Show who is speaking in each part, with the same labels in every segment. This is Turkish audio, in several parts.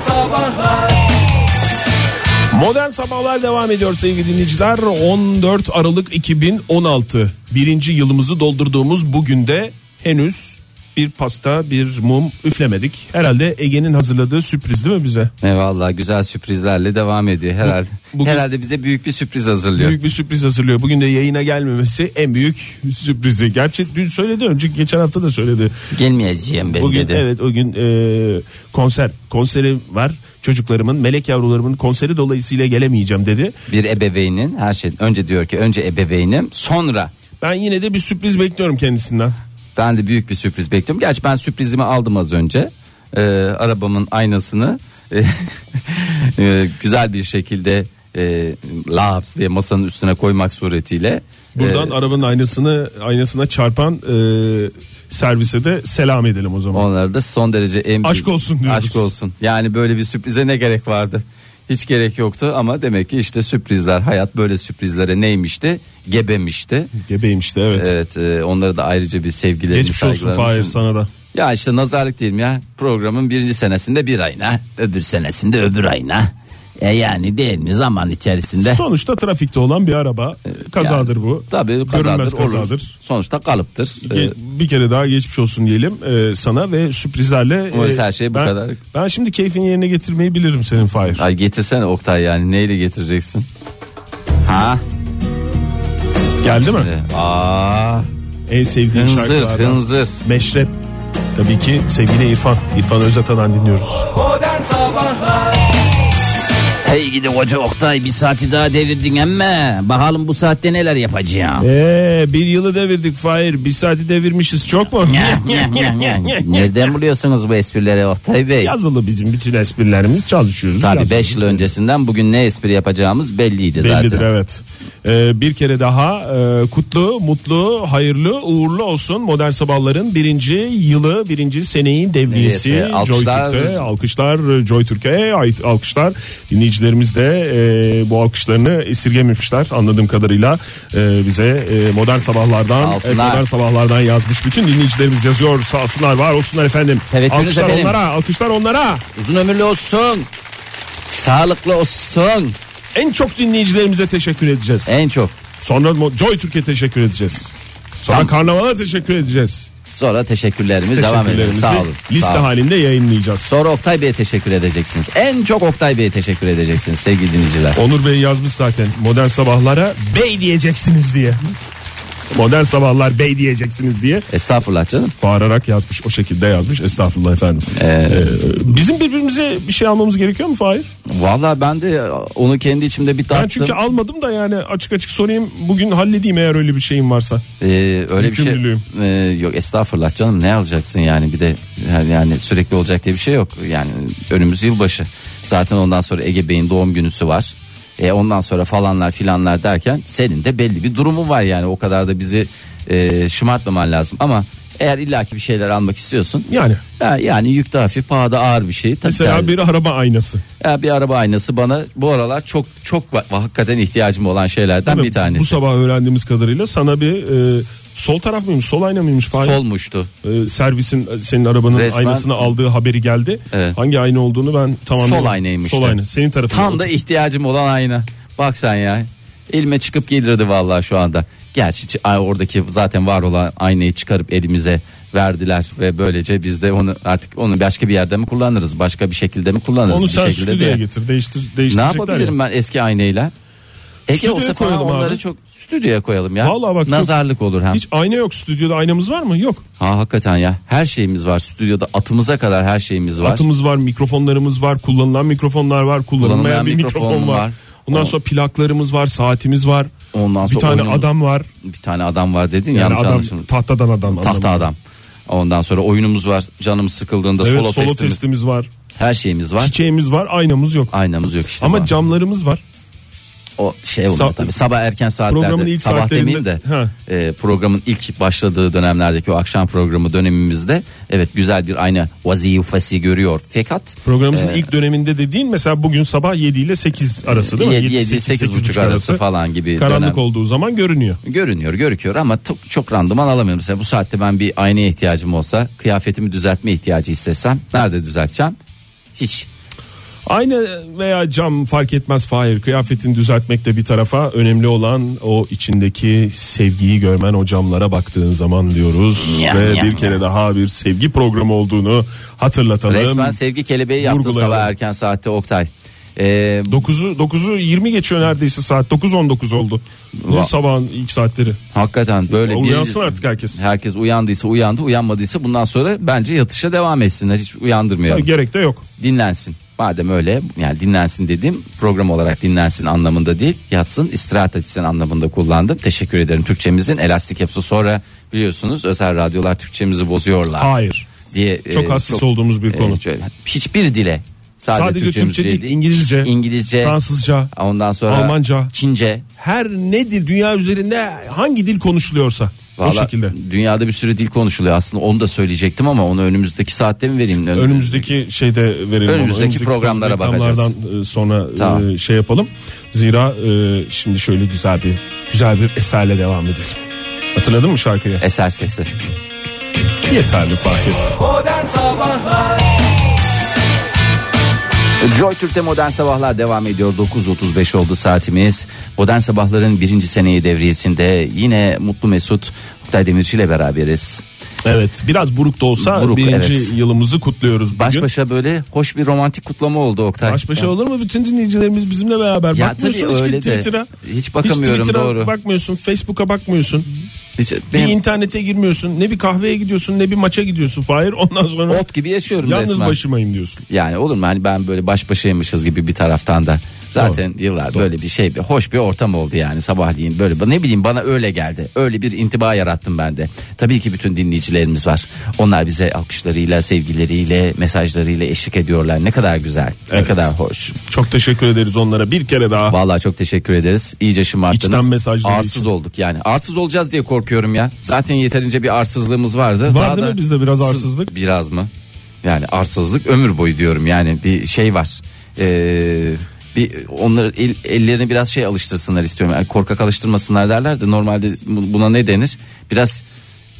Speaker 1: Sabahlar
Speaker 2: Modern Sabahlar devam ediyor sevgili dinleyiciler. 14 Aralık 2016 birinci yılımızı doldurduğumuz bugün de henüz bir pasta bir mum üflemedik. Herhalde Ege'nin hazırladığı sürpriz değil mi bize?
Speaker 3: Ne vallahi güzel sürprizlerle devam ediyor herhalde.
Speaker 2: bugün-
Speaker 3: herhalde bize büyük bir sürpriz hazırlıyor.
Speaker 2: Büyük bir sürpriz hazırlıyor. Bugün de yayına gelmemesi en büyük sürprizi. Gerçi dün söyledi önceki geçen hafta da söyledi.
Speaker 3: Gelmeyeceğim ben
Speaker 2: Bugün
Speaker 3: dedi.
Speaker 2: evet o gün e, konser konseri var. Çocuklarımın melek yavrularımın konseri dolayısıyla gelemeyeceğim dedi.
Speaker 3: Bir ebeveynin her şey önce diyor ki önce ebeveynim sonra
Speaker 2: Ben yine de bir sürpriz bekliyorum kendisinden.
Speaker 3: ben de büyük bir sürpriz bekliyorum. Gerçi ben sürprizimi aldım az önce. Ee, arabamın aynasını e, güzel bir şekilde e, laps diye masanın üstüne koymak suretiyle
Speaker 2: Buradan
Speaker 3: e,
Speaker 2: arabanın aynasını aynasına çarpan e, servise de selam edelim o zaman.
Speaker 3: Onlara da son derece en büyük-
Speaker 2: Aşk olsun diyoruz.
Speaker 3: Aşk olsun. Yani böyle bir sürprize ne gerek vardı? Hiç gerek yoktu ama demek ki işte sürprizler hayat böyle sürprizlere neymişti? Gebemişti.
Speaker 2: Gebeymiş de evet.
Speaker 3: Evet, e, onlara da ayrıca bir sevgilerimi
Speaker 2: Geçmiş olsun
Speaker 3: saygılarımı
Speaker 2: Fahir
Speaker 3: sun-
Speaker 2: sana da.
Speaker 3: Ya işte nazarlık diyelim ya. Programın birinci senesinde bir ayına, öbür senesinde öbür ayına. E yani değil mi zaman içerisinde?
Speaker 2: Sonuçta trafikte olan bir araba kazadır bu.
Speaker 3: Tabii
Speaker 2: Görünmez
Speaker 3: kazadır, olur.
Speaker 2: kazadır.
Speaker 3: Sonuçta kalıptır. E,
Speaker 2: Ge- Bir kere daha geçmiş olsun diyelim e, sana ve sürprizlerle. e,
Speaker 3: Umarız her şey bu
Speaker 2: ben,
Speaker 3: kadar.
Speaker 2: Ben şimdi keyfini yerine getirmeyi bilirim senin Fahir.
Speaker 3: Ay getirsene Oktay yani neyle getireceksin? Ha?
Speaker 2: Geldi mi?
Speaker 3: E, Aa,
Speaker 2: En sevdiğin
Speaker 3: hınzır
Speaker 2: şarkılardan.
Speaker 3: hınzır.
Speaker 2: Meşrep. Tabii ki sevgili İrfan. İrfan Özata'dan dinliyoruz.
Speaker 1: Modern Sabahlar
Speaker 3: Hey gidi koca Oktay bir saati daha devirdin emme. Bakalım bu saatte neler yapacağım.
Speaker 2: Ee, bir yılı devirdik Fahir. Bir saati devirmişiz çok mu?
Speaker 3: Nereden buluyorsunuz bu esprileri Oktay Bey?
Speaker 2: Yazılı bizim bütün esprilerimiz çalışıyoruz.
Speaker 3: Tabii
Speaker 2: Yazılı.
Speaker 3: 5 yıl öncesinden bugün ne espri yapacağımız belliydi zaten.
Speaker 2: Bellidir evet. Ee, bir kere daha e, kutlu, mutlu, hayırlı, uğurlu olsun modern sabahların birinci yılı, birinci seneyi devriyesi.
Speaker 3: Evet, e, alkışlar.
Speaker 2: Joy Türk'te. alkışlar e, Joy Türkiye'ye ait alkışlar. Dinleyicilerimiz de e, bu alkışlarını esirgememişler anladığım kadarıyla e, bize e, modern sabahlardan
Speaker 3: Sağ
Speaker 2: e,
Speaker 3: olsunlar.
Speaker 2: modern sabahlardan yazmış bütün dinleyicilerimiz yazıyor. Sağ olsunlar, var olsunlar efendim.
Speaker 3: Teveccühünüz
Speaker 2: alkışlar
Speaker 3: efendim.
Speaker 2: onlara, alkışlar onlara.
Speaker 3: Uzun ömürlü olsun. Sağlıklı olsun.
Speaker 2: En çok dinleyicilerimize teşekkür edeceğiz.
Speaker 3: En çok.
Speaker 2: Sonra Mo- Joy Türkiye teşekkür edeceğiz. Sonra
Speaker 3: Tamam.
Speaker 2: Karnaval'a teşekkür edeceğiz.
Speaker 3: Sonra teşekkürlerimiz devam ediyor.
Speaker 2: Teşekkürlerimizi
Speaker 3: Sağ olun.
Speaker 2: liste
Speaker 3: Sağ olun.
Speaker 2: halinde yayınlayacağız.
Speaker 3: Sonra Oktay Bey'e teşekkür edeceksiniz. En çok Oktay Bey'e teşekkür edeceksiniz sevgili dinleyiciler.
Speaker 2: Onur Bey yazmış zaten modern sabahlara bey diyeceksiniz diye. Modern sabahlar bey diyeceksiniz diye
Speaker 3: Estağfurullah canım.
Speaker 2: bağırarak yazmış o şekilde yazmış estağfurullah efendim. Ee, bizim birbirimize bir şey almamız gerekiyor mu Fahir?
Speaker 3: Vallahi ben de onu kendi içimde bir
Speaker 2: Ben
Speaker 3: tarttım.
Speaker 2: çünkü almadım da yani açık açık sorayım bugün halledeyim eğer öyle bir şeyim varsa.
Speaker 3: Ee, öyle bir şey
Speaker 2: Yükümlülüğüm.
Speaker 3: Ee, yok estağfurullah canım ne alacaksın yani bir de yani- yani sürekli olacak diye bir şey yok yani önümüz yılbaşı zaten ondan sonra Ege Bey'in doğum günüsü var e, ondan sonra falanlar filanlar derken senin de belli bir durumun var yani o kadar da bizi e, şımartmaman lazım ama eğer illaki bir şeyler almak istiyorsun
Speaker 2: Yani
Speaker 3: ya- yani yük de hafif pahada ağır bir şey Tabii
Speaker 2: mesela
Speaker 3: yani-
Speaker 2: bir araba aynası.
Speaker 3: ya bir araba aynası bana bu aralar çok çok va- hakikaten ihtiyacım olan şeylerden bir tanesi
Speaker 2: Bu sabah öğrendiğimiz kadarıyla sana bir e, sol taraf mıymış sol ayna mıymış Fahir?
Speaker 3: solmuştu
Speaker 2: Ee, servisin senin arabanın
Speaker 3: Resmen-
Speaker 2: aynasını aldığı haberi geldi.
Speaker 3: Evet.
Speaker 2: Hangi ayna olduğunu ben tamamen
Speaker 3: Sol aynaymış
Speaker 2: Sol
Speaker 3: de.
Speaker 2: ayna. Senin tarafın.
Speaker 3: Tam da ihtiyacım olan ayna. Bak sen ya. Elime çıkıp gelirdi vallahi şu anda. Gerçi çı- ay- oradaki zaten var olan aynayı çıkarıp elimize verdiler ve böylece biz de onu artık onu başka bir yerde mi kullanırız? Başka bir şekilde mi kullanırız?
Speaker 2: onu
Speaker 3: bir
Speaker 2: sen
Speaker 3: şekilde
Speaker 2: stüdyoya
Speaker 3: de-
Speaker 2: getir. Değiştir
Speaker 3: Ne
Speaker 2: değiştirecekler.
Speaker 3: yapabilirim ben eski aynayla? Ege
Speaker 2: Stüdyoya
Speaker 3: olsa falan
Speaker 2: koyalım
Speaker 3: onları
Speaker 2: abi. ya.
Speaker 3: çok stüdyoya koyalım ya.
Speaker 2: Vallahi bak çok-
Speaker 3: Nazarlık olur hem.
Speaker 2: Hiç ayna yok stüdyoda. Aynamız var mı? Yok.
Speaker 3: Ha hakikaten ya. Her şeyimiz var stüdyoda atımıza kadar her şeyimiz var.
Speaker 2: Atımız var, mikrofonlarımız var, kullanılan mikrofonlar var, kullanılmayan
Speaker 3: Kullanılmayan
Speaker 2: bir
Speaker 3: mikrofon
Speaker 2: mikrofon var.
Speaker 3: var.
Speaker 2: Ondan
Speaker 3: O-
Speaker 2: sonra plaklarımız var, saatimiz var.
Speaker 3: Ondan
Speaker 2: bir
Speaker 3: sonra
Speaker 2: tane
Speaker 3: oyunumuz-
Speaker 2: adam var.
Speaker 3: Bir tane adam var dedin
Speaker 2: Yani
Speaker 3: yanlış
Speaker 2: adam
Speaker 3: anlaşılma.
Speaker 2: tahtadan adam.
Speaker 3: Tahta
Speaker 2: anlamında.
Speaker 3: adam. Ondan sonra oyunumuz var. Canım sıkıldığında
Speaker 2: Evet,
Speaker 3: solo,
Speaker 2: solo
Speaker 3: testimiz.
Speaker 2: testimiz var.
Speaker 3: Her şeyimiz var.
Speaker 2: Çiçeğimiz var, aynamız yok.
Speaker 3: Aynamız yok işte.
Speaker 2: Ama
Speaker 3: Ama
Speaker 2: camlarımız var.
Speaker 3: o şey oldu
Speaker 2: Sa-
Speaker 3: tabii. Sabah erken saatlerde.
Speaker 2: Programın ilk
Speaker 3: sabah
Speaker 2: saatlerinde-
Speaker 3: demeyeyim de.
Speaker 2: Ha.
Speaker 3: e, programın ilk başladığı dönemlerdeki o akşam programı dönemimizde evet güzel bir ayna vazifesi görüyor. Fakat
Speaker 2: Programımızın ilk döneminde dediğin mesela bugün sabah 7 ile 8 arası değil mi?
Speaker 3: 7,
Speaker 2: Yedi, sekiz,
Speaker 3: 8
Speaker 2: sekiz
Speaker 3: buçuk arası falan gibi
Speaker 2: Karanlık
Speaker 3: dönem.
Speaker 2: olduğu zaman görünüyor.
Speaker 3: Görünüyor görüküyor ama çok, çok randıman alamıyorum. Mesela bu saatte ben bir aynaya ihtiyacım olsa kıyafetimi düzeltme ihtiyacı hissetsem nerede düzelteceğim? Hiç.
Speaker 2: Aynı veya cam fark etmez Fahir. Kıyafetini düzeltmek de bir tarafa önemli olan o içindeki sevgiyi görmen o camlara baktığın zaman diyoruz.
Speaker 3: Yam,
Speaker 2: Ve
Speaker 3: yam,
Speaker 2: bir kere
Speaker 3: yam.
Speaker 2: daha bir sevgi programı olduğunu hatırlatalım.
Speaker 3: Resmen sevgi kelebeği yaptı
Speaker 2: vurgulayalım.
Speaker 3: sabah erken saatte Oktay. Ee,
Speaker 2: 9'u 9'u 20 geçiyor neredeyse saat 9.19 oldu.
Speaker 3: Va-
Speaker 2: Sabahın ilk saatleri.
Speaker 3: hakikaten böyle bir
Speaker 2: Uyansın artık herkes.
Speaker 3: herkes uyandıysa uyandı uyanmadıysa bundan sonra bence yatışa devam etsinler hiç uyandırmayalım
Speaker 2: Gerek de yok.
Speaker 3: dinlensin madem öyle yani dinlensin dediğim program olarak dinlensin anlamında değil yatsın istirahat etsin anlamında kullandım teşekkür ederim Türkçemizin elastik yapısı sonra biliyorsunuz özel radyolar Türkçemizi bozuyorlar
Speaker 2: Hayır.
Speaker 3: diye e,
Speaker 2: Çok hassas olduğumuz bir konu.
Speaker 3: şöyle, hiçbir dile sadece,
Speaker 2: Sadece
Speaker 3: Türkçemiz
Speaker 2: Türkçe değil, İngilizce,
Speaker 3: İngilizce
Speaker 2: Fransızca,
Speaker 3: ondan sonra
Speaker 2: Almanca.
Speaker 3: Çince
Speaker 2: Her ne dil dünya üzerinde hangi dil konuşuluyorsa o
Speaker 3: Valla
Speaker 2: şekilde.
Speaker 3: dünyada bir sürü dil konuşuluyor aslında onu da söyleyecektim ama onu önümüzdeki saatte mi vereyim? Ön-
Speaker 2: Önümüzdeki şeyde verelim. onu.
Speaker 3: Önümüzdeki programlara
Speaker 2: reklamlardan, e, sonra e,
Speaker 3: Tamam.
Speaker 2: şey yapalım. Zira e, şimdi şöyle güzel bir güzel bir eserle devam edelim. Hatırladın mı şarkıyı?
Speaker 3: Eser sesi.
Speaker 2: Yeterli Fahir.
Speaker 1: Modern Sabahlar
Speaker 3: Joy Türk'te Modern Sabahlar devam ediyor. 9.35 oldu saatimiz. Modern Sabahların birinci seneyi devriyesinde yine Mutlu Mesut Oktay Demirci ile beraberiz.
Speaker 2: Evet biraz buruk da olsa
Speaker 3: Buruk,
Speaker 2: birinci
Speaker 3: evet.
Speaker 2: yılımızı kutluyoruz bugün.
Speaker 3: Baş başa böyle hoş bir romantik kutlama oldu Oktay.
Speaker 2: Baş başa olur mu? Bütün dinleyicilerimiz bizimle beraber.
Speaker 3: Ya
Speaker 2: Bakmıyorsunuz
Speaker 3: tabii
Speaker 2: ki
Speaker 3: öyle de.
Speaker 2: Twitter'a.
Speaker 3: Hiç bakamıyorum,
Speaker 2: Twitter'a
Speaker 3: doğru.
Speaker 2: bakmıyorsun. Facebook'a bakmıyorsun.
Speaker 3: Hiç-
Speaker 2: Bir
Speaker 3: şey- benim
Speaker 2: internete girmiyorsun. Ne bir kahveye gidiyorsun ne bir maça gidiyorsun Fahir. Ondan sonra
Speaker 3: ot gibi yaşıyorum
Speaker 2: yalnız
Speaker 3: resmen.
Speaker 2: başımayım diyorsun.
Speaker 3: Yani olur mu? Hani ben böyle baş başaymışız gibi bir taraftan da. Zaten yıllar böyle bir şey bir hoş bir ortam oldu yani sabahleyin böyle ne bileyim bana öyle geldi. Öyle bir intiba yarattım ben de. Tabii ki bütün dinleyicilerimiz var. Onlar bize alkışlarıyla, sevgileriyle, mesajlarıyla eşlik ediyorlar. Ne kadar güzel. Ne
Speaker 2: Evet.
Speaker 3: kadar hoş.
Speaker 2: Çok teşekkür ederiz onlara bir kere daha.
Speaker 3: Vallahi çok teşekkür ederiz. İyice şımarttınız.
Speaker 2: İçten mesajları
Speaker 3: Arsız
Speaker 2: için.
Speaker 3: olduk yani. Arsız olacağız diye korkuyorum ya. Zaten yeterince bir arsızlığımız vardı.
Speaker 2: Var değil
Speaker 3: da-
Speaker 2: mi bizde biraz arsızlık?
Speaker 3: Biraz mı? Yani arsızlık ömür boyu diyorum yani bir şey var. Ee, bir onları el- ellerini biraz şey alıştırsınlar istiyorum. Yani korkak alıştırmasınlar derler de normalde bu- buna ne denir? Biraz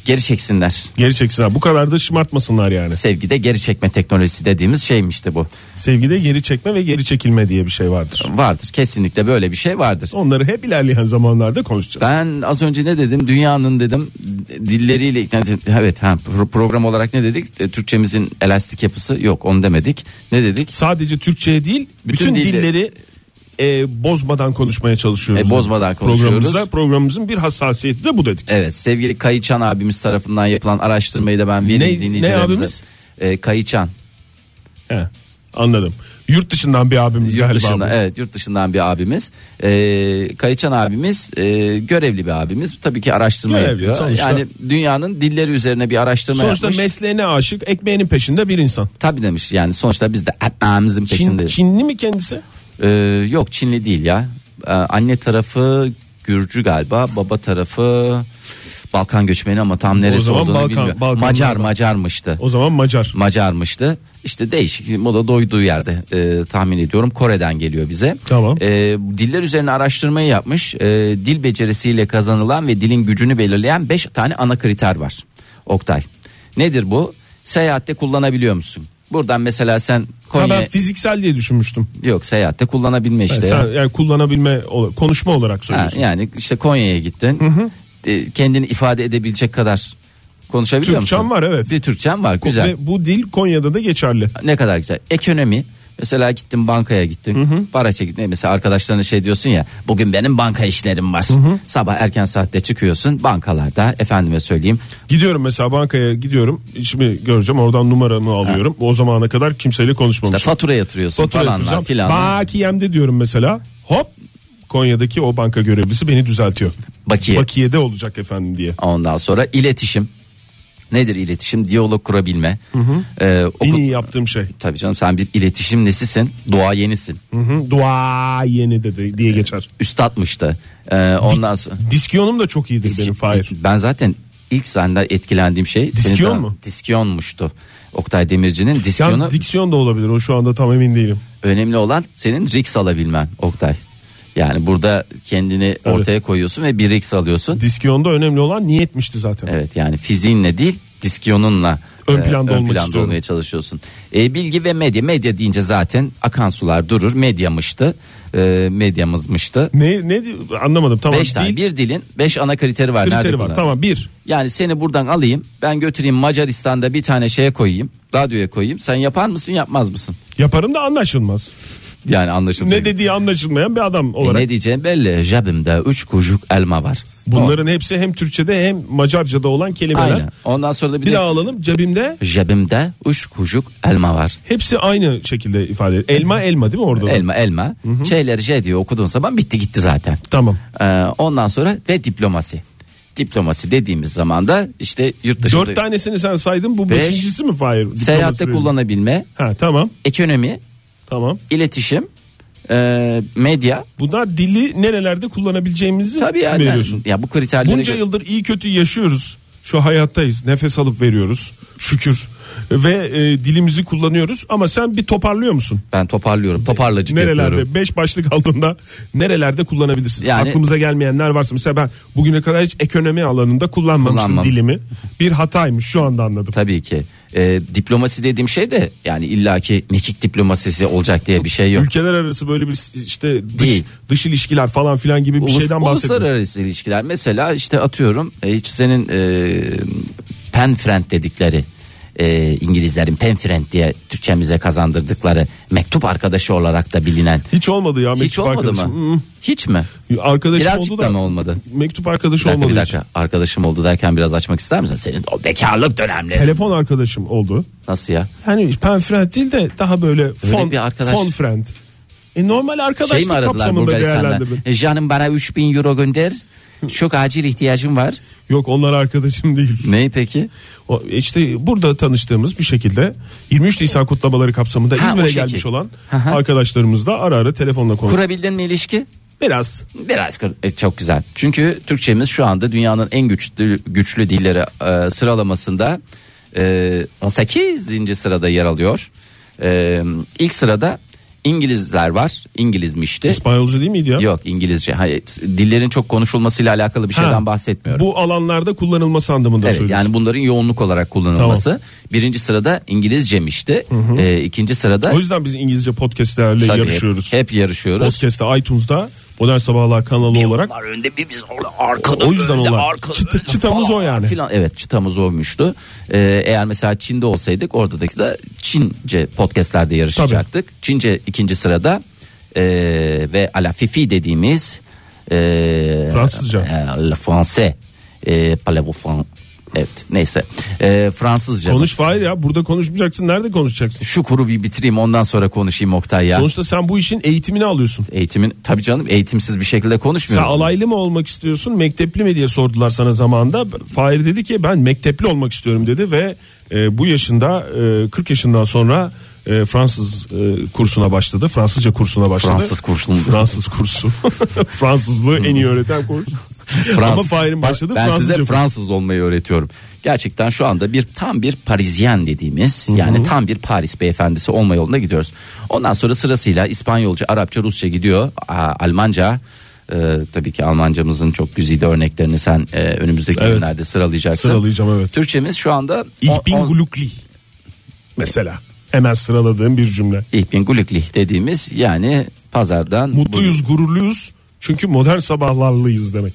Speaker 3: geri çeksinler.
Speaker 2: Geri çeksinler. Bu kadar da şımartmasınlar yani.
Speaker 3: Sevgide geri çekme teknolojisi dediğimiz şeymişti bu.
Speaker 2: Sevgide geri çekme ve geri çekilme diye bir şey vardır.
Speaker 3: Vardır kesinlikle böyle bir şey vardır.
Speaker 2: Onları hep ilerleyen zamanlarda konuşacağız.
Speaker 3: Ben az önce ne dedim? Dünyanın dedim dilleriyle evet ha pro- program olarak ne dedik? E, Türkçemizin elastik yapısı yok onu demedik. Ne dedik?
Speaker 2: Sadece Türkçe'ye değil bütün,
Speaker 3: Bütün dilleri-
Speaker 2: dilleri e, bozmadan konuşmaya çalışıyoruz.
Speaker 3: E, bozmadan konuşuyoruz.
Speaker 2: Programımızda, programımızın bir hassasiyeti de bu dedik.
Speaker 3: Evet sevgili Kayıçan abimiz tarafından yapılan araştırmayı da ben vereyim
Speaker 2: Ne-
Speaker 3: dinleyicilerimize.
Speaker 2: ne abimiz?
Speaker 3: E, Kayıçan.
Speaker 2: He, anladım. Yurt dışından bir abimiz
Speaker 3: Yurt
Speaker 2: galiba.
Speaker 3: dışından,
Speaker 2: bu.
Speaker 3: evet yurt dışından bir abimiz. E, Kayıçan abimiz e, görevli bir abimiz. Tabii ki araştırma
Speaker 2: Görevli,
Speaker 3: yapıyor.
Speaker 2: sonuçta-
Speaker 3: Yani dünyanın dilleri üzerine bir araştırma
Speaker 2: Sonuçta
Speaker 3: yapmış.
Speaker 2: mesleğine aşık, ekmeğinin peşinde bir insan.
Speaker 3: Tabii demiş yani sonuçta biz de ekmeğimizin
Speaker 2: Çin,
Speaker 3: peşindeyiz.
Speaker 2: Çinli mi kendisi?
Speaker 3: Ee, yok Çinli değil ya. Ee, anne tarafı Gürcü galiba, baba tarafı Balkan göçmeni ama tam neresi
Speaker 2: zaman
Speaker 3: olduğunu
Speaker 2: Balkan-
Speaker 3: bilmiyorum.
Speaker 2: Balkanlardan.
Speaker 3: Macar Macarmıştı.
Speaker 2: O zaman Macar.
Speaker 3: Macarmıştı. İşte değişik moda doyduğu yerde e, tahmin ediyorum Kore'den geliyor bize.
Speaker 2: Tamam.
Speaker 3: E, diller üzerine araştırmayı yapmış. E, dil becerisiyle kazanılan ve dilin gücünü belirleyen 5 tane ana kriter var. Oktay. Nedir bu? Seyahatte kullanabiliyor musun? Buradan mesela sen
Speaker 2: Ha,
Speaker 3: Konya
Speaker 2: ben fiziksel diye düşünmüştüm.
Speaker 3: yok seyahatte kullanabilme işte.
Speaker 2: Yani sen yani kullanabilme, ola- konuşma olarak
Speaker 3: Ha,
Speaker 2: söylüyorsun.
Speaker 3: yani işte Konya'ya gittin. E, Kendini ifade edebilecek kadar konuşabiliyor
Speaker 2: Türkçem
Speaker 3: musun?
Speaker 2: var, evet.
Speaker 3: Bir Türkçem var güzel.
Speaker 2: Ve bu dil Konya'da da geçerli.
Speaker 3: Ne kadar güzel. Ekonomi. Mesela gittin bankaya gittin. Para çektin. Mesela arkadaşlarına şey diyorsun ya. Bugün benim banka işlerim var. Sabah erken saatte çıkıyorsun. Bankalarda efendime söyleyeyim.
Speaker 2: Gidiyorum mesela bankaya gidiyorum. İşimi göreceğim. Oradan numaramı alıyorum. O zamana kadar kimseyle
Speaker 3: işte
Speaker 2: konuşmamışım.
Speaker 3: fatura yatırıyorsun
Speaker 2: Fatura
Speaker 3: falanlar
Speaker 2: yatıracağım.
Speaker 3: filanlar.
Speaker 2: Bakiyemde diyorum mesela. Hop Konya'daki o banka görevlisi beni düzeltiyor.
Speaker 3: Bakiye.
Speaker 2: Bakiye'de olacak efendim diye.
Speaker 3: Ondan sonra iletişim. Nedir iletişim? Diyalog kurabilme. Ee, oku-
Speaker 2: En iyi yaptığım şey.
Speaker 3: Tabii canım sen bir iletişim nesisin? Dua yenisin.
Speaker 2: Hı hı. Dua yeni de, de- diye geçer.
Speaker 3: üstatmıştı. Ee, ondan sonra
Speaker 2: Diskiyonum da çok iyidir benim Fahir.
Speaker 3: ben zaten ilk senden etkilendiğim şey senin
Speaker 2: Diskiyon
Speaker 3: daha-
Speaker 2: mu?
Speaker 3: Diskiyonmuştu. Oktay Demirci'nin diskiyonu
Speaker 2: Yalnız diksiyon da olabilir. O şu anda tam emin değilim.
Speaker 3: önemli olan senin riks alabilmen Oktay. Yani burada kendini ortaya koyuyorsun ve bir riks alıyorsun.
Speaker 2: Diskiyonda önemli olan niyetmişti zaten.
Speaker 3: Evet yani fiziğinle değil diskiyonunla
Speaker 2: Ön planda olmak istiyorum.
Speaker 3: olmaya çalışıyorsun. E, bilgi ve medya. Medya deyince zaten akan sular durur. Medyamıştı. E, medyamızmıştı.
Speaker 2: Ne ne di- anlamadım tamam.
Speaker 3: Beş tane
Speaker 2: değil,
Speaker 3: bir dilin beş ana kriteri var. Nerede
Speaker 2: kriteri var.
Speaker 3: bunlar?
Speaker 2: Tamam bir.
Speaker 3: Yani seni buradan alayım ben götüreyim Macaristan'da bir tane şeye koyayım radyoya koyayım sen yapar mısın yapmaz mısın?
Speaker 2: Yaparım da anlaşılmaz.
Speaker 3: Yani anlaşılacak.
Speaker 2: Ne dediği anlaşılmayan bir adam
Speaker 3: E,
Speaker 2: olarak.
Speaker 3: ne diyeceğim belli cebimde üç kucuk elma var.
Speaker 2: Bunların hepsi hem Türkçe'de hem Macarca'da olan kelimeler.
Speaker 3: Aynen. Ondan sonra da bir,
Speaker 2: Bir
Speaker 3: de
Speaker 2: daha alalım cebimde
Speaker 3: cebimde üç kucuk elma var.
Speaker 2: hepsi aynı şekilde ifade ediyor. Elma elma değil mi orada? da?
Speaker 3: Elma elma. Şeyleri şey diye okuduğun zaman bitti gitti zaten.
Speaker 2: Tamam.
Speaker 3: Ee, ondan sonra ve diplomasi. Diplomasi dediğimiz zaman da işte yurt dışında
Speaker 2: Dört tanesini sen saydın bu
Speaker 3: Beş.
Speaker 2: beşincisi mi Fahir?
Speaker 3: seyahatte
Speaker 2: Diplomasi.
Speaker 3: kullanabilme,
Speaker 2: Ha tamam
Speaker 3: ekonomi,
Speaker 2: tamam.
Speaker 3: iletişim, e, medya.
Speaker 2: Bunlar dili nerelerde kullanabileceğimizi
Speaker 3: Tabii yani.
Speaker 2: veriyorsun.
Speaker 3: Ya bu kriterlere
Speaker 2: Bunca
Speaker 3: gö-
Speaker 2: yıldır iyi kötü yaşıyoruz. Şu hayattayız. Nefes alıp veriyoruz. Şükür. Ve e, dilimizi kullanıyoruz ama sen bir toparlıyor musun?
Speaker 3: ben toparlıyorum. Toparlacık
Speaker 2: Nerelerde?
Speaker 3: yapıyorum.
Speaker 2: Beş başlık altında nerelerde kullanabilirsin?
Speaker 3: Yani-
Speaker 2: Aklımıza gelmeyenler varsa mesela ben bugüne kadar hiç ekonomi alanında kullanmamıştım
Speaker 3: Kullanmam.
Speaker 2: dilimi. Bir hataymış şu anda anladım.
Speaker 3: Tabii ki. E, diplomasi dediğim şey de yani illaki mekik diplomasisi olacak diye bir şey yok.
Speaker 2: Ülkeler arası böyle bir işte dış,
Speaker 3: Değil.
Speaker 2: dış ilişkiler falan filan gibi bir
Speaker 3: Ulus-
Speaker 2: şeyden bahsediyoruz.
Speaker 3: Uluslararası ilişkiler mesela işte atıyorum e, hiç senin e, pen friend dedikleri e, İngilizlerin pen friend diye Türkçemize kazandırdıkları mektup arkadaşı olarak da bilinen
Speaker 2: Hiç olmadı ya mektup
Speaker 3: hiç olmadı
Speaker 2: arkadaşım.
Speaker 3: mı? Hiç mi?
Speaker 2: Hmm. Arkadaşım
Speaker 3: Birazcık
Speaker 2: oldu
Speaker 3: da
Speaker 2: da
Speaker 3: mı olmadı?
Speaker 2: mektup
Speaker 3: Bir
Speaker 2: arkadaşı
Speaker 3: dakika,
Speaker 2: olmadı
Speaker 3: bir
Speaker 2: hiç.
Speaker 3: dakika. arkadaşım oldu derken biraz açmak ister misin? Senin o bekarlık dönemleri.
Speaker 2: Telefon arkadaşım oldu.
Speaker 3: Nasıl ya?
Speaker 2: Yani pen friend değil de daha böyle fon,
Speaker 3: bir arkadaş-
Speaker 2: fon friend. E normal
Speaker 3: Şey mi
Speaker 2: arkadaşlık
Speaker 3: aradılar
Speaker 2: kapsamında
Speaker 3: Bulgaristan'da?
Speaker 2: değerlendirdim.
Speaker 3: E, Canım bana 3000 euro gönder. Çok acil ihtiyacım var.
Speaker 2: Yok onlar arkadaşım değil.
Speaker 3: Neyi peki?
Speaker 2: O, işte burada tanıştığımız bir şekilde 23 Nisan kutlamaları kapsamında
Speaker 3: Ha, o
Speaker 2: İzmir'e
Speaker 3: şekil.
Speaker 2: gelmiş olan
Speaker 3: Aha.
Speaker 2: arkadaşlarımızla ara ara telefonla konuş.
Speaker 3: Kurabildin mi ilişki?
Speaker 2: Biraz
Speaker 3: Biraz kır- e, çok güzel. Çünkü Türkçemiz şu anda dünyanın en güçlü güçlü dilleri e, sıralamasında e, 18. sırada yer alıyor. E, ilk sırada İngilizler var. İngilizmişti.
Speaker 2: İspanyolca değil miydi ya?
Speaker 3: Yok İngilizce. Hayır, dillerin çok konuşulmasıyla alakalı bir
Speaker 2: Ha,
Speaker 3: şeyden bahsetmiyorum.
Speaker 2: Bu alanlarda kullanılması anlamında
Speaker 3: Evet
Speaker 2: söylüyorsun.
Speaker 3: yani bunların yoğunluk olarak kullanılması. Birinci sırada İngilizcemişti. E, ikinci sırada
Speaker 2: O yüzden biz İngilizce podcastlerle
Speaker 3: Tabii hep-
Speaker 2: yarışıyoruz.
Speaker 3: Hep, yarışıyoruz.
Speaker 2: Podcast'te iTunes'da Modern Sabahlar kanalı olarak
Speaker 4: Onlar önde bir biz orada arkada.
Speaker 2: O yüzden
Speaker 4: önde,
Speaker 2: onlar.
Speaker 4: arkada
Speaker 2: Çıtı-
Speaker 4: önde
Speaker 2: çıtamız
Speaker 4: falan.
Speaker 2: o yani.
Speaker 3: Filan, evet çıtamız olmuştu. E, eğer mesela Çin'de olsaydık oradaki de Çince podcastlerde yarışacaktık. Çince ikinci sırada e, ve ala fifi dediğimiz e,
Speaker 2: Fransızca.
Speaker 3: e, le français. E, parlez-vous fran- Evet neyse. E, Fransızca.
Speaker 2: konuş Fahir ya burada konuşmayacaksın nerede konuşacaksın?
Speaker 3: Şu kuru bir bitireyim ondan sonra konuşayım Oktay ya.
Speaker 2: Sonuçta sen bu işin eğitimini alıyorsun.
Speaker 3: Eğitimin tabii canım eğitimsiz bir şekilde
Speaker 2: Sen
Speaker 3: konuşmuyoruz.
Speaker 2: alaylı mı olmak istiyorsun mektepli mi diye sordular sana zamanında. Fahir dedi ki ben mektepli olmak istiyorum dedi ve e, bu yaşında e, 40 yaşından sonra e, Fransız e, kursuna başladı. Fransızca kursuna başladı.
Speaker 3: Fransız kursu.
Speaker 2: Fransız kursu. Fransızlığı en iyi öğreten kurs. Ama Fahir'in başladı
Speaker 3: ben
Speaker 2: Fransızca
Speaker 3: size
Speaker 2: kursu.
Speaker 3: Fransız olmayı öğretiyorum. Gerçekten şu anda bir tam bir Parisyen dediğimiz yani tam bir Paris beyefendisi olma yolunda gidiyoruz. Ondan sonra sırasıyla İspanyolca, Arapça, Rusça gidiyor. Aa, Almanca e, tabii ki Almancamızın çok güzide örneklerini sen e, önümüzdeki
Speaker 2: Evet.
Speaker 3: günlerde sıralayacaksın.
Speaker 2: Sıralayacağım, evet.
Speaker 3: Türkçemiz şu anda
Speaker 2: Ich bin
Speaker 3: on- on-
Speaker 2: glücklich. Mesela hemen sıraladığım bir cümle.
Speaker 3: Ich bin glücklich dediğimiz yani pazardan
Speaker 2: Mutluyuz, gururluyuz. Çünkü modern sabahlarlıyız demek.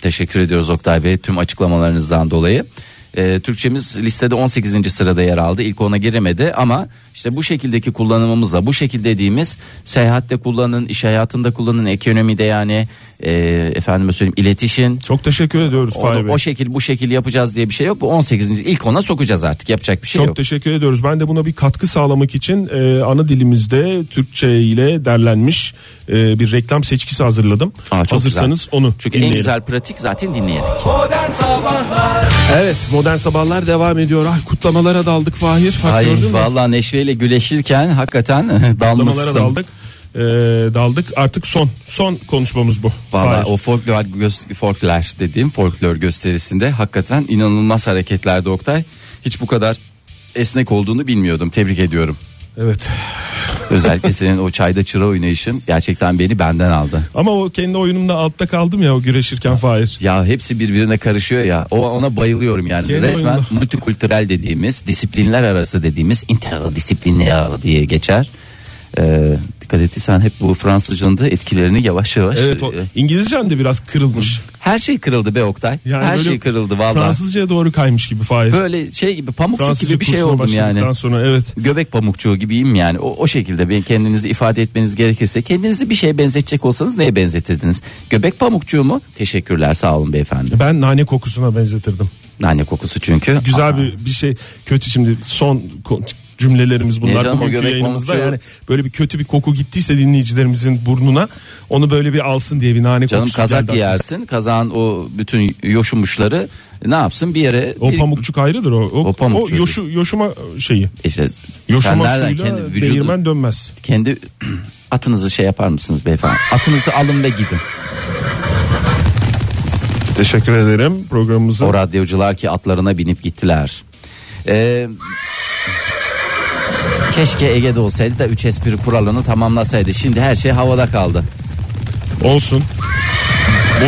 Speaker 3: Teşekkür ediyoruz Oktay Bey tüm açıklamalarınızdan dolayı. Ee, Türkçemiz listede 18. sırada yer aldı. İlk ona giremedi ama işte bu şekildeki kullanımımızla bu şekilde dediğimiz seyahatte kullanın, iş hayatında kullanın, ekonomide yani e, efendime söyleyeyim iletişim.
Speaker 2: Çok teşekkür ediyoruz Fahir
Speaker 3: Onu,
Speaker 2: Bey.
Speaker 3: Ee, o şey şekil bu şekil yapacağız diye bir şey yok. Bu 18. ilk ona sokacağız artık. Yapacak bir şey
Speaker 2: Çok
Speaker 3: yok.
Speaker 2: teşekkür ediyoruz. Ben de buna bir katkı sağlamak için e, ana dilimizde Türkçe ile derlenmiş e, bir reklam seçkisi hazırladım.
Speaker 3: Aa, çok
Speaker 2: Hazırsanız
Speaker 3: güzel.
Speaker 2: onu
Speaker 3: Çünkü
Speaker 2: dinleyelim.
Speaker 3: en güzel pratik zaten dinleyerek.
Speaker 1: Modern Sabahlar
Speaker 2: Evet modern sabahlar devam ediyor. Ay, kutlamalara daldık Fahir. Bak,
Speaker 3: Ay
Speaker 2: gördün mü?
Speaker 3: vallahi neşveyle güleşirken hakikaten
Speaker 2: Kutlamalara
Speaker 3: dalmışsın.
Speaker 2: daldık. E, daldık artık son son konuşmamız bu.
Speaker 3: Valla
Speaker 2: Fahir.
Speaker 3: o folklor, gös- folklor dediğim folklor gösterisinde hakikaten inanılmaz hareketlerdi Oktay. Hiç bu kadar esnek olduğunu bilmiyordum. Tebrik ediyorum.
Speaker 2: Evet.
Speaker 3: Özellikle senin o çayda çıra oynayışın gerçekten beni benden aldı.
Speaker 2: Ama o kendi oyunumda altta kaldım ya o güreşirken Fahir.
Speaker 3: Ya hepsi birbirine karışıyor ya. O ona bayılıyorum yani.
Speaker 2: Kendi
Speaker 3: Resmen
Speaker 2: oyunda.
Speaker 3: multikültürel dediğimiz, disiplinler arası dediğimiz interdisipliner diye geçer. Ee, dikkat ettiysen hep bu Fransızcanın da etkilerini yavaş yavaş.
Speaker 2: Evet o, İngilizcen de biraz kırılmış.
Speaker 3: Her şey kırıldı be Oktay.
Speaker 2: Yani
Speaker 3: Her
Speaker 2: böyle
Speaker 3: şey kırıldı vallahi.
Speaker 2: Fransızcaya doğru kaymış gibi Fahir.
Speaker 3: Böyle şey gibi pamukçuk
Speaker 2: Fransızca
Speaker 3: gibi bir şey
Speaker 2: kursuna
Speaker 3: oldum yani.
Speaker 2: başladıktan sonra evet.
Speaker 3: Göbek pamukçuğu gibiyim yani. O, o şekilde ben kendinizi ifade etmeniz gerekirse kendinizi bir şeye benzetecek olsanız neye benzetirdiniz? Göbek pamukçuğu mu? Teşekkürler sağ olun beyefendi.
Speaker 2: Ben nane kokusuna benzetirdim.
Speaker 3: Nane kokusu çünkü.
Speaker 2: Güzel
Speaker 3: Aa.
Speaker 2: bir bir şey. Kötü şimdi son ko- cümlelerimiz bunlar
Speaker 3: Ne canım, o
Speaker 2: bugünkü
Speaker 3: göbek
Speaker 2: yayınımızda.
Speaker 3: pamukçu.
Speaker 2: Yani böyle bir kötü bir koku gittiyse dinleyicilerimizin burnuna onu böyle bir alsın diye bir nane
Speaker 3: Canım
Speaker 2: kokusu
Speaker 3: kazak
Speaker 2: geldi.
Speaker 3: giyersin. Kazağın o bütün yoşumuşları ne yapsın bir yere
Speaker 2: O
Speaker 3: bir-
Speaker 2: pamukçuk ayrıdır o. O,
Speaker 3: O pamukçuk.
Speaker 2: o yoşu, yoşuma şeyi.
Speaker 3: işte sen
Speaker 2: Yoşuma
Speaker 3: nereden
Speaker 2: suyla
Speaker 3: kendi
Speaker 2: kendi,
Speaker 3: vücudu
Speaker 2: dönmez.
Speaker 3: kendi atınızı şey yapar mısınız beyefendi? Atınızı alın ve gidin.
Speaker 2: Teşekkür ederim programımıza.
Speaker 3: O radyocular ki atlarına binip gittiler. Ee, keşke Ege'de olsaydı da 3 espri kuralını tamamlasaydı. Şimdi her şey havada kaldı.
Speaker 2: Olsun.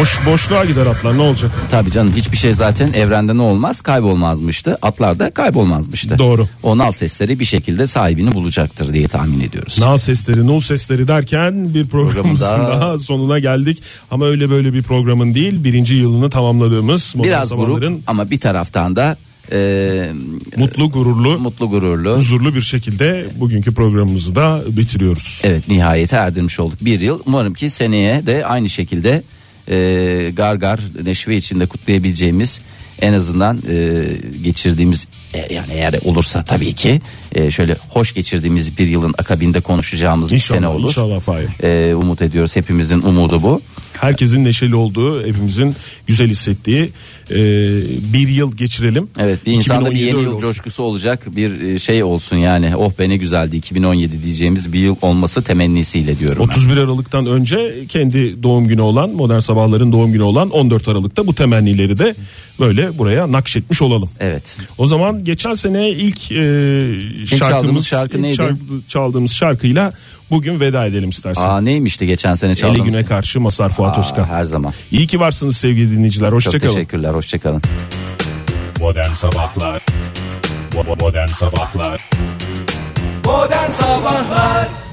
Speaker 2: Boş boşluğa gider atlar ne olacak?
Speaker 3: Tabii canım hiçbir şey zaten evrende ne olmaz kaybolmazmıştı. Atlar da kaybolmazmıştı.
Speaker 2: Doğru.
Speaker 3: O nal sesleri bir şekilde sahibini bulacaktır diye tahmin ediyoruz.
Speaker 2: Nal sesleri, nul sesleri derken bir programımızın
Speaker 3: Programın daha-
Speaker 2: daha sonuna geldik. Ama öyle böyle bir programın değil, birinci yılını tamamladığımız modern
Speaker 3: Biraz
Speaker 2: sabahların
Speaker 3: grup ama bir taraftan da e,
Speaker 2: mutlu, gururlu,
Speaker 3: mutlu gururlu.
Speaker 2: huzurlu bir şekilde bugünkü programımızı da bitiriyoruz.
Speaker 3: Evet nihayete erdirmiş olduk bir yıl. Umarım ki seneye de aynı şekilde e, gargar neşve içinde kutlayabileceğimiz en azından e, geçirdiğimiz e, yani eğer olursa tabii ki e, şöyle hoş geçirdiğimiz bir yılın akabinde konuşacağımız bir sene
Speaker 2: İnşallah,
Speaker 3: olur.
Speaker 2: inşallah Fahir.
Speaker 3: E, umut ediyoruz hepimizin umudu bu.
Speaker 2: Herkesin neşeli olduğu, hepimizin güzel hissettiği e, bir yıl geçirelim.
Speaker 3: Evet bir insanda bir
Speaker 2: 2017
Speaker 3: yeni
Speaker 2: öyle
Speaker 3: yıl
Speaker 2: olsun.
Speaker 3: coşkusu olacak bir e, şey olsun yani oh be ne güzeldi 2017 diyeceğimiz bir yıl olması temennisiyle diyorum ben.
Speaker 2: 31 Aralık'tan önce kendi doğum günü olan modern sabahların doğum günü olan 14 Aralık'ta bu temennileri de böyle buraya nakşetmiş olalım.
Speaker 3: Evet.
Speaker 2: O zaman geçen sene ilk, e, şarkımız
Speaker 3: çaldığımız şarkı
Speaker 2: ilk
Speaker 3: neydi?
Speaker 2: şarkı- çaldığımız şarkıyla bugün veda edelim istersen.
Speaker 3: Aa neymişti geçen sene
Speaker 2: Eli
Speaker 3: çaldığımız?
Speaker 2: güne karşı Masar Fuat
Speaker 3: Aa,
Speaker 2: Özkan.
Speaker 3: her zaman.
Speaker 2: İyi ki varsınız sevgili dinleyiciler.
Speaker 3: Çok
Speaker 2: Hoşçakalın.
Speaker 3: teşekkürler. Hoşçakalın.
Speaker 4: Modern Sabahlar Bo- bo- Modern Sabahlar
Speaker 1: Modern Sabahlar